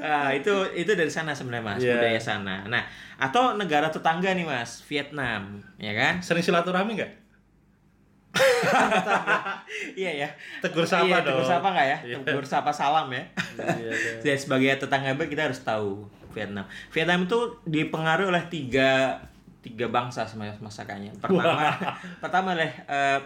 Ah, itu itu dari sana sebenarnya Mas, Iya. budaya sana. Nah, atau negara tetangga nih Mas, Vietnam, ya kan? Sering silaturahmi nggak? Iya ya. Tegur sapa iya, dong. Tegur sapa nggak ya? Iya. Tegur sapa salam ya. Iya, dong. Dan Ya, sebagai tetangga baik kita harus tahu Vietnam. Vietnam itu dipengaruhi oleh tiga tiga bangsa sebenarnya masakannya. Pertama, pertama oleh eh,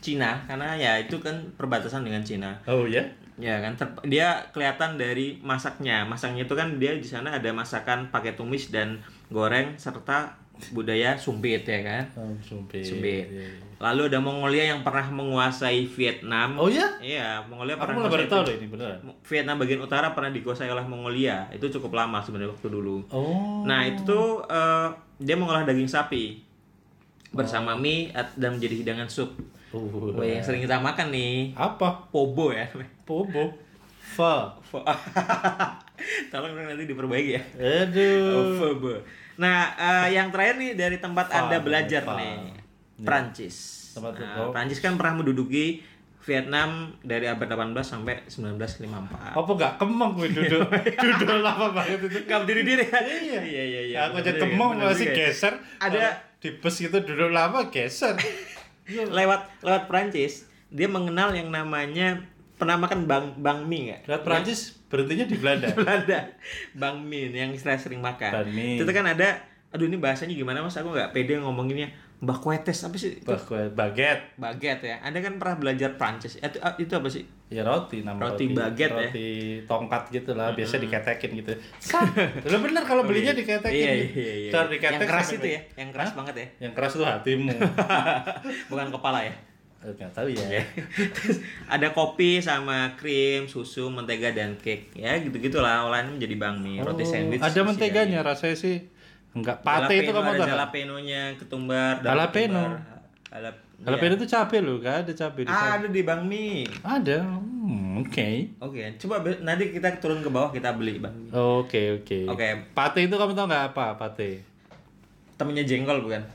Cina karena ya itu kan perbatasan dengan Cina. Oh ya? Ya kan ter- dia kelihatan dari masaknya. Masaknya itu kan dia di sana ada masakan pakai tumis dan goreng serta budaya sumpit ya kan. Oh, sumpit. Sumpit. Lalu ada Mongolia yang pernah menguasai Vietnam. Oh ya? Iya, Mongolia Aku pernah malah baru menguasai tahu loh ini beneran. Vietnam bagian utara pernah dikuasai oleh Mongolia. Itu cukup lama sebenarnya waktu dulu. Oh. Nah, itu tuh eh, dia mengolah daging sapi bersama mie at- dan menjadi hidangan sup. Uh. Wah, yang sering kita makan nih. Apa? Pobo ya. Pobo. Fa. Tolong dong nanti diperbaiki ya. Aduh. Pobo. Nah, eh, yang terakhir nih dari tempat Fa, Anda belajar fa. nih. Prancis. Tempat Nah, Pobo. Prancis kan pernah menduduki Vietnam dari abad 18 sampai Apa 1954. nggak kemeng gue duduk? duduk lama banget itu. Gak berdiri diri ya? Iya, iya, iya. iya. aku aja Bener juga, kemeng bener masih juga. ya. geser. Ada- Kalau di bus gitu duduk lama geser. Lewat lewat Prancis, dia mengenal yang namanya pernah makan bang bang mie nggak? Lihat Prancis berhentinya di Belanda. Belanda, bang mie yang istilah sering makan. Bang mie. Itu kan ada, aduh ini bahasanya gimana mas? Aku nggak pede ngomonginnya. Bakwetes apa sih? Itu? Bah, baget. Baguette ya. Anda kan pernah belajar Prancis. Itu itu apa sih? Ya roti nama Roti baguette ya? Roti tongkat gitu lah, biasa diketekin gitu. Sah. Lo bener kalau belinya diketekin. Iya, gitu. iya, iya. Ntar Yang diketek keras sampai- itu ya, yang keras Hah? banget ya. Yang keras itu hatimu. Bukan kepala ya. Eh, nggak tahu ya. Terus ada kopi sama krim, susu, mentega dan cake. Ya gitu-gitulah olahan menjadi bakmi, roti sandwich. Oh, Ada isiannya. menteganya rasanya sih. Enggak, pate itu Jalapeno, kamu ada tahu. nggak? jalapenonya, ketumbar, daun Jalapeno. ketumbar. Jalap iya. Jalapeno itu cabe loh, kan ada cabe di sana. Ah, ada di bakmi. Ada. Hmm, oke. Oke, coba be- nanti kita turun ke bawah kita beli bakmi. Oke, oke. Oke. Pate itu kamu tahu nggak apa pate? Temennya jengkol bukan?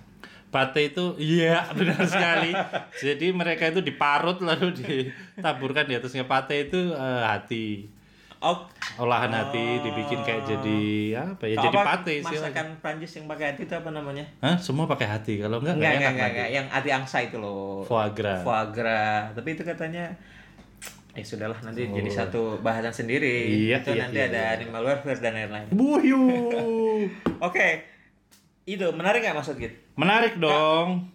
Pate itu iya benar sekali. Jadi mereka itu diparut lalu ditaburkan di atasnya pate itu eh, hati. Oh, Olahan hati dibikin kayak jadi apa ya? kalau Jadi apa, pate sih. Masakan Prancis yang pakai hati itu apa namanya? Hah? Semua pakai hati. Kalau enggak Enggak, enggak enggak, enak enggak, nanti. enggak. Yang hati angsa itu loh. Foie gras. Foie gras. Tapi itu katanya eh sudahlah nanti jadi satu bahasan sendiri. Oh, Iya, itu iya, nanti iya, ada animal welfare dan lain-lain. Buyu. Oke. Itu menarik nggak maksud gitu? Git? Menarik dong.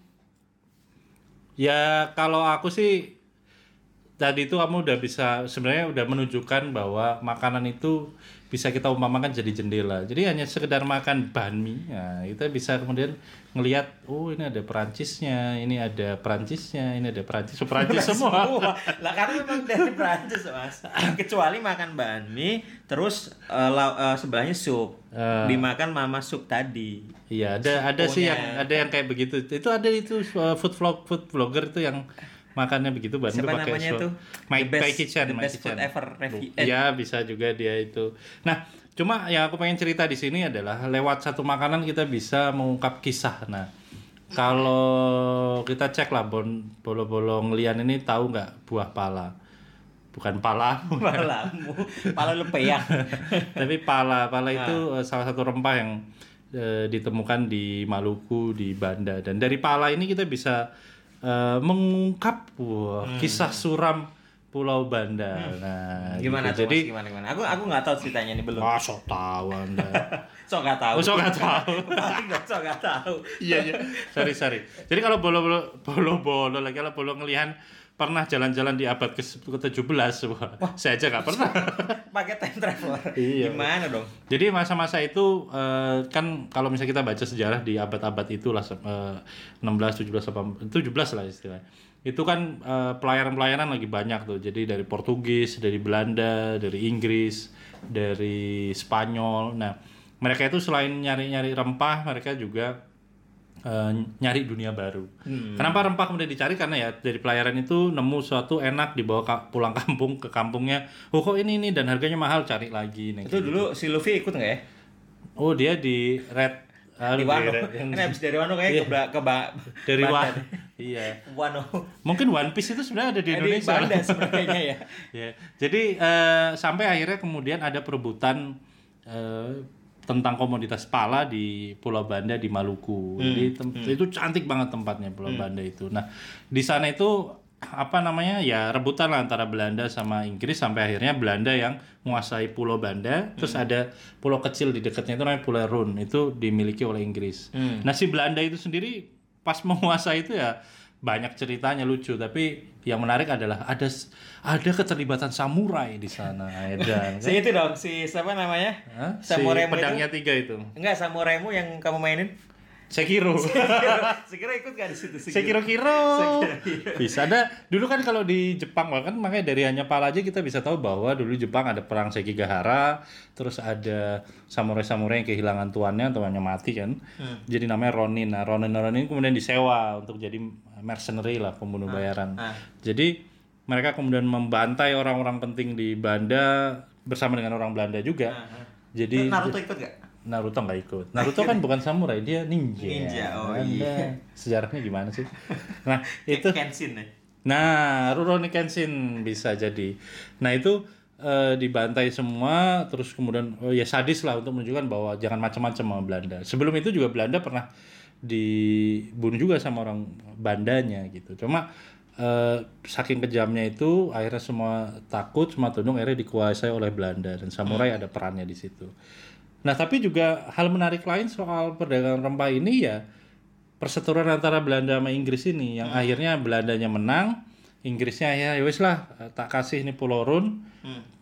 Ya kalau aku sih tadi itu kamu udah bisa sebenarnya udah menunjukkan bahwa makanan itu bisa kita umpamakan jadi jendela. Jadi hanya sekedar makan banmi, nah, kita bisa kemudian ngelihat, oh ini ada Perancisnya, ini ada Perancisnya, ini ada Perancis, Perancis semua. lah karena memang dari Prancis, Mas. Kecuali makan banh mi, terus eh, lau- eh, sebelahnya sup. Eh. Dimakan mama sup tadi. Iya, ada ada sih Sepupunya. yang ada yang kayak begitu. Itu ada itu uh, food vlog food blogger itu yang makannya begitu banmi pakai Siapa namanya so- itu? My, The best- My kitchen, the My best kitchen. food ever review. Eh, Ya bisa juga dia itu. Nah, cuma yang aku pengen cerita di sini adalah lewat satu makanan kita bisa mengungkap kisah. Nah, kalau kita cek lah bon bolo-bolo ngelian ini tahu nggak buah pala? Bukan pala, Palamu, pala lepeyang. tapi pala pala itu eh, salah satu rempah yang eh, ditemukan di Maluku di Banda dan dari pala ini kita bisa eh, mengungkap wah, kisah suram Pulau Banda. Nah, Gimana gitu. tuh? Jadi Mas? Gimana gimana? Aku aku nggak tahu ceritanya nih belum. Ah, sok tahu Anda. So nggak tahu. Oh, sok nggak tahu. Paling nggak so nggak tahu. Iya, iya. Sorry, sorry. Jadi kalau bolo-bolo bolo-bolo lagi kalau bolo ngelihan pernah jalan-jalan di abad ke-17, wah, saya aja nggak pernah. Pakai time traveler. Iya. Gimana dong? Jadi masa-masa itu eh, kan kalau misalnya kita baca sejarah di abad-abad itulah eh, 16, 17, 18, 17 lah istilahnya. Itu kan eh, pelayaran-pelayaran lagi banyak tuh. Jadi dari Portugis, dari Belanda, dari Inggris, dari Spanyol. Nah, mereka itu selain nyari-nyari rempah, mereka juga eh, nyari dunia baru. Kenapa rempah kemudian dicari? Karena ya dari pelayaran itu nemu suatu enak dibawa ka- pulang kampung ke kampungnya. Oh kok ini ini dan harganya mahal cari lagi. Nah, Itu dulu si Luffy ikut nggak ya? Oh dia di red Di aduh, di Wano. red. Ini abis dari Wano kayaknya ke Bla- ke ba dari Bandan. Wano. iya. Wano. Mungkin One Piece itu sebenarnya ada di Eh, Di Indonesia. Banda sebenarnya ya. Ya. Jadi eh, sampai akhirnya kemudian ada perebutan eh, tentang komoditas pala di Pulau Banda di Maluku. Jadi tem- itu cantik banget tempatnya Pulau Banda itu. Nah, di sana itu apa namanya? Ya rebutan lah antara Belanda sama Inggris sampai akhirnya Belanda yang menguasai Pulau Banda, terus ada pulau kecil di dekatnya itu namanya Pulau Run. Itu dimiliki oleh Inggris. Nah, si Belanda itu sendiri pas menguasai itu ya banyak ceritanya lucu tapi yang menarik adalah ada s- ada keterlibatan samurai di sana Edan Si itu dong, si siapa namanya? Hah? Samurai si pedangnya tiga itu Enggak, Samurai mu yang kamu mainin. Sekiro Sekira ikut nggak di situ sih? Sekiro Kiro bisa ada dulu kan kalau di Jepang kan makanya dari hanya pala aja kita bisa tahu bahwa dulu Jepang ada perang Sekigahara terus ada samurai-samurai yang kehilangan tuannya tuannya mati kan Hmm. jadi namanya Ronin nah Ronin Ronin kemudian disewa untuk jadi mercenary lah pembunuh bayaran ah. Jadi mereka kemudian membantai orang-orang penting di Banda bersama dengan orang Belanda juga. Ah, Jadi Naruto ikut nggak? Naruto nggak ikut. Naruto kan bukan samurai, dia ninja. Ninja, oh Anda iya. Sejarahnya gimana sih? Nah Kayak itu, Kenshin ya. nah Rurouni Kenshin bisa jadi. Nah itu eh, dibantai semua, terus kemudian oh ya sadis lah untuk menunjukkan bahwa jangan macam-macam sama Belanda. Sebelum itu juga Belanda pernah dibunuh juga sama orang Bandanya gitu. Cuma eh, saking kejamnya itu akhirnya semua takut semua tunduk akhirnya dikuasai oleh Belanda dan samurai ada perannya di situ. Nah tapi juga hal menarik lain soal perdagangan rempah ini ya perseteruan antara Belanda sama Inggris ini yang akhirnya Belandanya menang, Hmm. Inggrisnya akhirnya ya wis lah eh, tak kasih ini Pulau Run,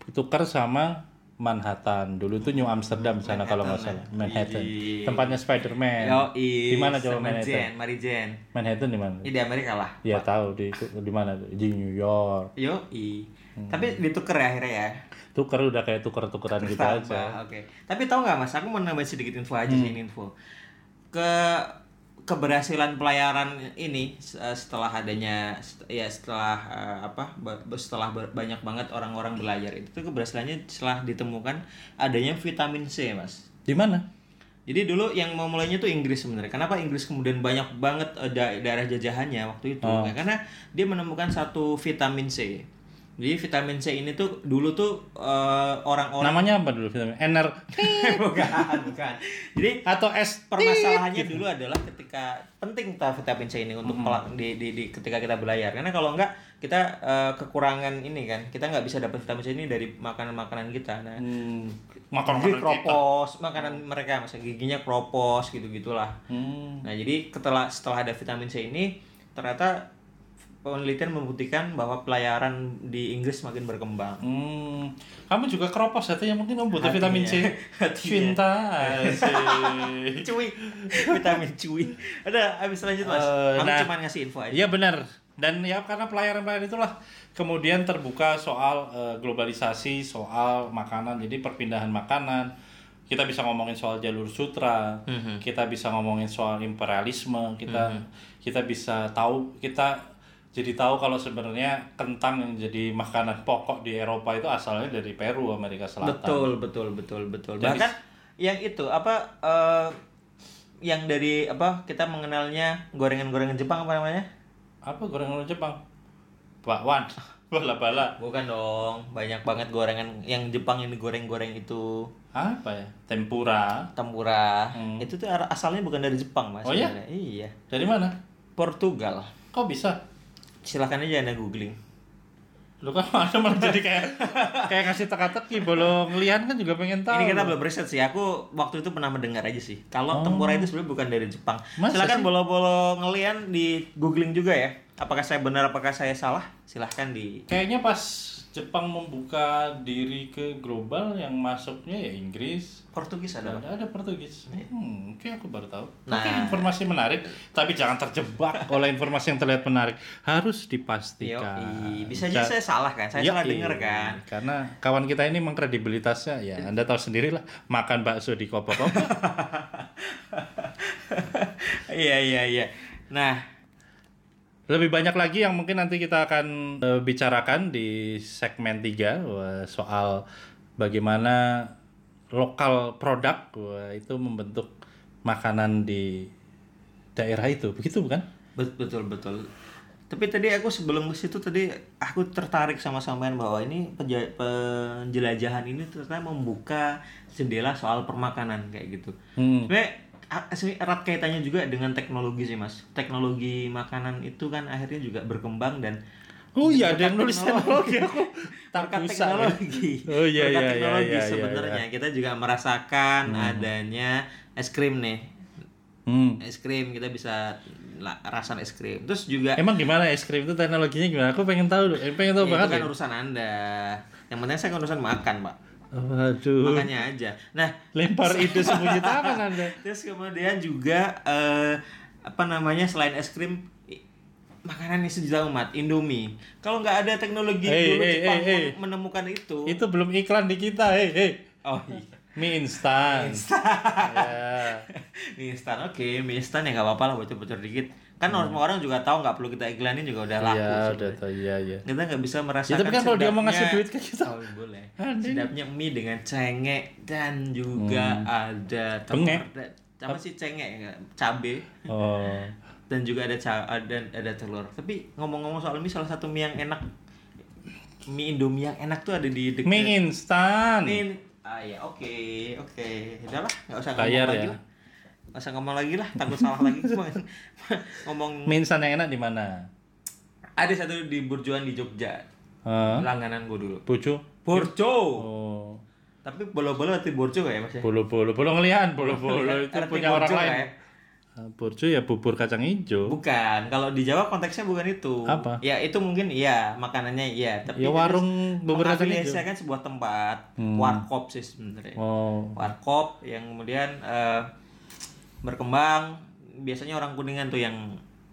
ditukar sama Manhattan. Dulu tuh New Amsterdam sana kalau nggak salah. Manhattan. Iya. Widih. Tempatnya Spider-Man. Yoi. Di mana coba iya, sama Manhattan? Jen, Mary Jane. Manhattan di mana? Ini di Amerika lah. Ya tahu di di mana tuh? di New York. Yoi. iya. Hmm. Tapi dituker ya akhirnya ya. Tuker udah kayak tuker-tukeran gitu Tambah, aja. Oke. Tapi tahu nggak Mas, aku mau nambahin sedikit info aja sih ini info. Ke keberhasilan pelayaran ini eh, setelah adanya set- ya setelah eh, apa ba- setelah ber- banyak banget orang-orang belajar itu tuh keberhasilannya setelah ditemukan adanya vitamin C, Mas. Di mana? Jadi dulu yang mau mulainya tuh Inggris sebenarnya. Kenapa Inggris kemudian banyak banget eh, da- daerah jajahannya waktu itu? Nah, Karena dia menemukan satu vitamin C. Jadi vitamin C ini tuh dulu tuh eh, orang-orang Namanya apa dulu filmnya? Ener bukan, bukan. Jadi atau S permasalahannya Gitu. dulu adalah ketika penting ta- vitamin C ini untuk pelak- di, di, di- ketika kita belayar karena kalau enggak kita eh, kekurangan ini kan kita nggak bisa dapat vitamin C ini dari makanan-makanan kita nah Hmm, jadi makanan kita. Mm. kropos makanan mereka masa giginya kropos gitu gitulah Hmm. Nah, jadi setelah setelah ada vitamin C ini, ternyata penelitian membuktikan bahwa pelayaran di Inggris makin berkembang. Hmm. Kamu juga keropos hatinya mungkin kamu butuh vitamin C. Hatinya. Cinta asik. Cuy, vitamin cuy. Ada habis lanjut, Mas. Eh, Aku nah. cuma ngasih info aja. Iya benar. Dan ya karena pelayaran-pelayaran itulah kemudian terbuka soal eh, globalisasi, soal makanan. Jadi perpindahan makanan. Kita bisa ngomongin soal jalur sutra, kita bisa ngomongin soal imperialisme, kita kita bisa tahu kita jadi tahu kalau sebenarnya kentang yang jadi makanan pokok di Eropa itu asalnya dari Peru, Amerika Selatan. Betul, betul, betul, betul. Jadi- Bahkan yang itu apa eh, yang dari apa kita mengenalnya gorengan-gorengan Jepang apa namanya? Apa gorengan Jepang? Bakwan, bala-bala. Bukan dong, banyak banget gorengan yang Jepang yang digoreng-goreng itu. Apa ya? Tempura. Tempura. Itu tuh ar- asalnya bukan dari Jepang, Mas. Oh iya? sebenarnya. Hmm. Iya. Dari mana? Portugal. Kok bisa? Silahkan aja Anda googling. Lu kan ada malah jadi kayak kayak ngasih teka-teki bolong lian kan juga pengen tahu. Ini kita belum riset sih. Aku waktu itu pernah mendengar aja sih. Kalau tempura itu sebenarnya bukan dari Jepang. Masa Silahkan sih? bolo-bolo ngelian di googling juga ya. Apakah saya benar apakah saya salah? Silahkan di Kayaknya pas Jepang membuka diri ke global yang masuknya ya Inggris. Portugis ada. Ada ada Portugis. Hmm, oke aku baru tahu. Nah. Oke, informasi menarik, tapi jangan terjebak oleh informasi yang terlihat menarik. Harus dipastikan. Yoi. Bisa aja saya salah kan? Saya Yoi. salah denger kan? Karena kawan kita ini emang kredibilitasnya ya Anda tahu sendirilah makan bakso di kopo-kopo. Iya iya iya. Nah, Lebih banyak lagi yang mungkin nanti kita akan eh, bicarakan di segmen 3 wah, soal bagaimana lokal produk wah, itu membentuk makanan di daerah itu. Begitu bukan? Bet- betul betul tapi tadi aku sebelum ke situ tadi aku tertarik sama sampean bahwa ini penja- penjelajahan ini ternyata membuka jendela soal permakanan kayak gitu Hmm. sebenarnya a- sebenarnya erat kaitannya juga dengan teknologi sih mas teknologi makanan itu kan akhirnya juga berkembang dan Oh iya, ada yang nulis teknologi teknologi. aku. Tak berkat bisa. teknologi Oh iya iya berkat iya, iya teknologi Hmm. iya. sebenarnya kita juga merasakan adanya es krim nih Hmm. es krim kita bisa la- rasain es krim terus juga Emang gimana es krim itu teknologinya gimana? Aku pengen tahu, eh, pengen tahu Ya, banget. itu kan ya. urusan Anda. Yang penting saya kan urusan makan, Pak. Waduh, Makannya aja. Nah, lempar ide sembunyi tangan Anda. terus kemudian juga eh, apa namanya selain es krim i- makanan yang sejuta umat, Indomie. Kalau nggak ada teknologi Hey, dulu hey, Jepang hey, hey. menemukan itu. Itu belum iklan di kita, hei hei. Oh iya. Mie instan. ya. mie instan oke, mie instan ya nggak apa-apa lah bocor-bocor dikit. Kan semua orang juga tahu nggak perlu kita iklanin juga udah laku. Hmm. Iya, udah sebenarnya. tahu. Iya, iya. kita nggak bisa merasakan Ya, tapi kan kalau dia mau sedapnya- ngasih duit ke kita. Oh, boleh Anjing. Hmm. sedapnya mie dengan cengek dan juga ada telur Bengek. dan- apa sih cengek ya? cabe Oh. dan juga ada ca ada ada telur tapi ngomong-ngomong soal mie salah satu mie yang enak mie indomie yang enak tuh ada di dekat Mie instan. Mie- ah ya oke oke udah lah nggak usah ngomong Bayar lagi ya. lah nggak usah ngomong lagi lah takut salah lagi ngomong Mie instan yang enak di mana? ada satu di burjuan di Jogja Hah? langganan gue dulu Bucu. Burjo. Oh. Tapi bolo-bolo arti borjo gak ya mas ya? Bolo-bolo, bolo ngelihan, bolo-bolo itu Arti punya borjo orang nggak lain. ya? Burjo ya bubur kacang hijau. Bukan, kalau di Jawa konteksnya bukan itu. Apa? Ya itu mungkin iya, makanannya iya, tapi Ya warung gitu. Hmm. bubur kacang hijau. kan sebuah tempat, warkop sih sebenarnya. Oh, Warkop yang kemudian eh, berkembang, biasanya orang Kuningan tuh yang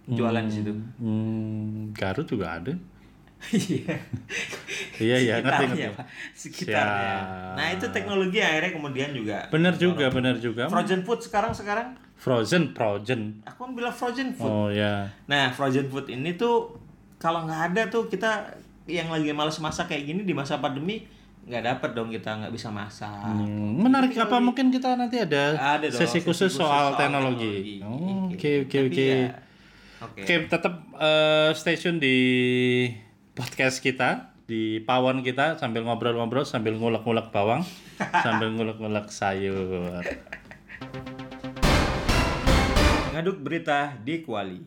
jualan di situ. hmm, Garut juga ada. Iya. Iya iya ngerti Sekitarnya, ngerti. Pak. Sekitarnya. Siap. Nah, itu teknologi akhirnya kemudian juga Bener juga bener juga. frozen food sekarang sekarang Frozen, frozen. aku kan bilang frozen food. Oh ya. Nah, frozen food ini tuh kalau nggak ada tuh kita yang lagi males masak kayak gini di masa pandemi nggak dapet dong kita nggak bisa masak. Hmm, menarik apa mungkin kita nanti ada, Ada dong. sesi khusus soal, teknologi. Oh, Oke oke oke. ya, Oke. Oke tetap eh, stay tune di podcast kita di pawon kita sambil ngobrol-ngobrol sambil ngulek-ngulek bawang sambil ngulek-ngulek sayur. Ngaduk berita di Kuali.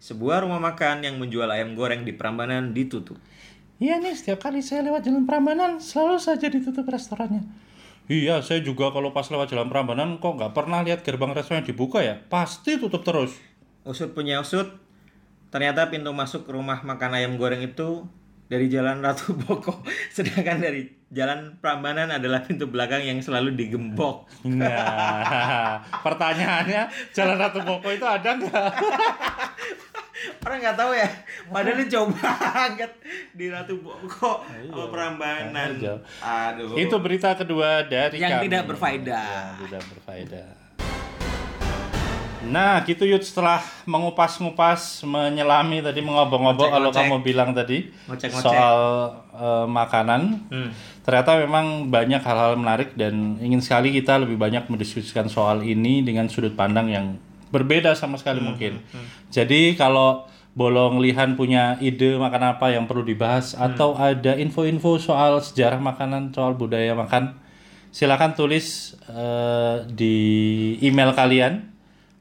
Sebuah rumah makan yang menjual ayam goreng di Prambanan ditutup. Iya nih, setiap kali saya lewat jalan Prambanan selalu saja ditutup restorannya. Iya, saya juga kalau pas lewat jalan Prambanan kok nggak pernah lihat gerbang restoran dibuka ya. Pasti tutup terus. Usut punya usut, ternyata pintu masuk rumah makan ayam goreng itu dari Jalan Ratu Boko, sedangkan dari Jalan Prambanan adalah pintu belakang yang selalu digembok. Nah, pertanyaannya Jalan Ratu Boko itu ada nggak? Orang nggak tahu ya, padahal dia coba banget di Ratu Boko Iya, sama Prambanan. Ayo. Aduh. itu berita kedua dari kami. Yang tidak berfaedah. Yang tidak berfaedah. Nah, gitu Yud setelah mengupas-ngupas, menyelami tadi mengobok-ngobok kalau Ngocek-ngocek. kamu bilang tadi Ngocek-ngocek. soal eh, makanan. Hmm. Ternyata memang banyak hal-hal menarik dan ingin sekali kita lebih banyak mendiskusikan soal ini dengan sudut pandang yang berbeda sama sekali Hmm, mungkin. Jadi kalau Bolong Lihan punya ide makan apa yang perlu dibahas Hmm. atau ada info-info soal sejarah makanan, soal budaya makan, silakan tulis eh, di email kalian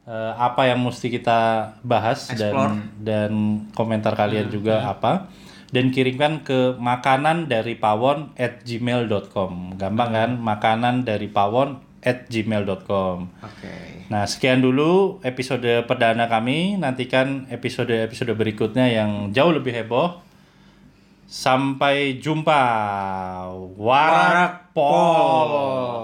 eh, apa yang mesti kita bahas Explore. dan dan komentar kalian juga apa dan kirimkan ke makanan dari pawon at gmail.com gampang kan makanan dari pawon at gmail.com Oke. nah sekian dulu episode perdana kami nantikan episode episode berikutnya yang jauh lebih heboh sampai jumpa warapol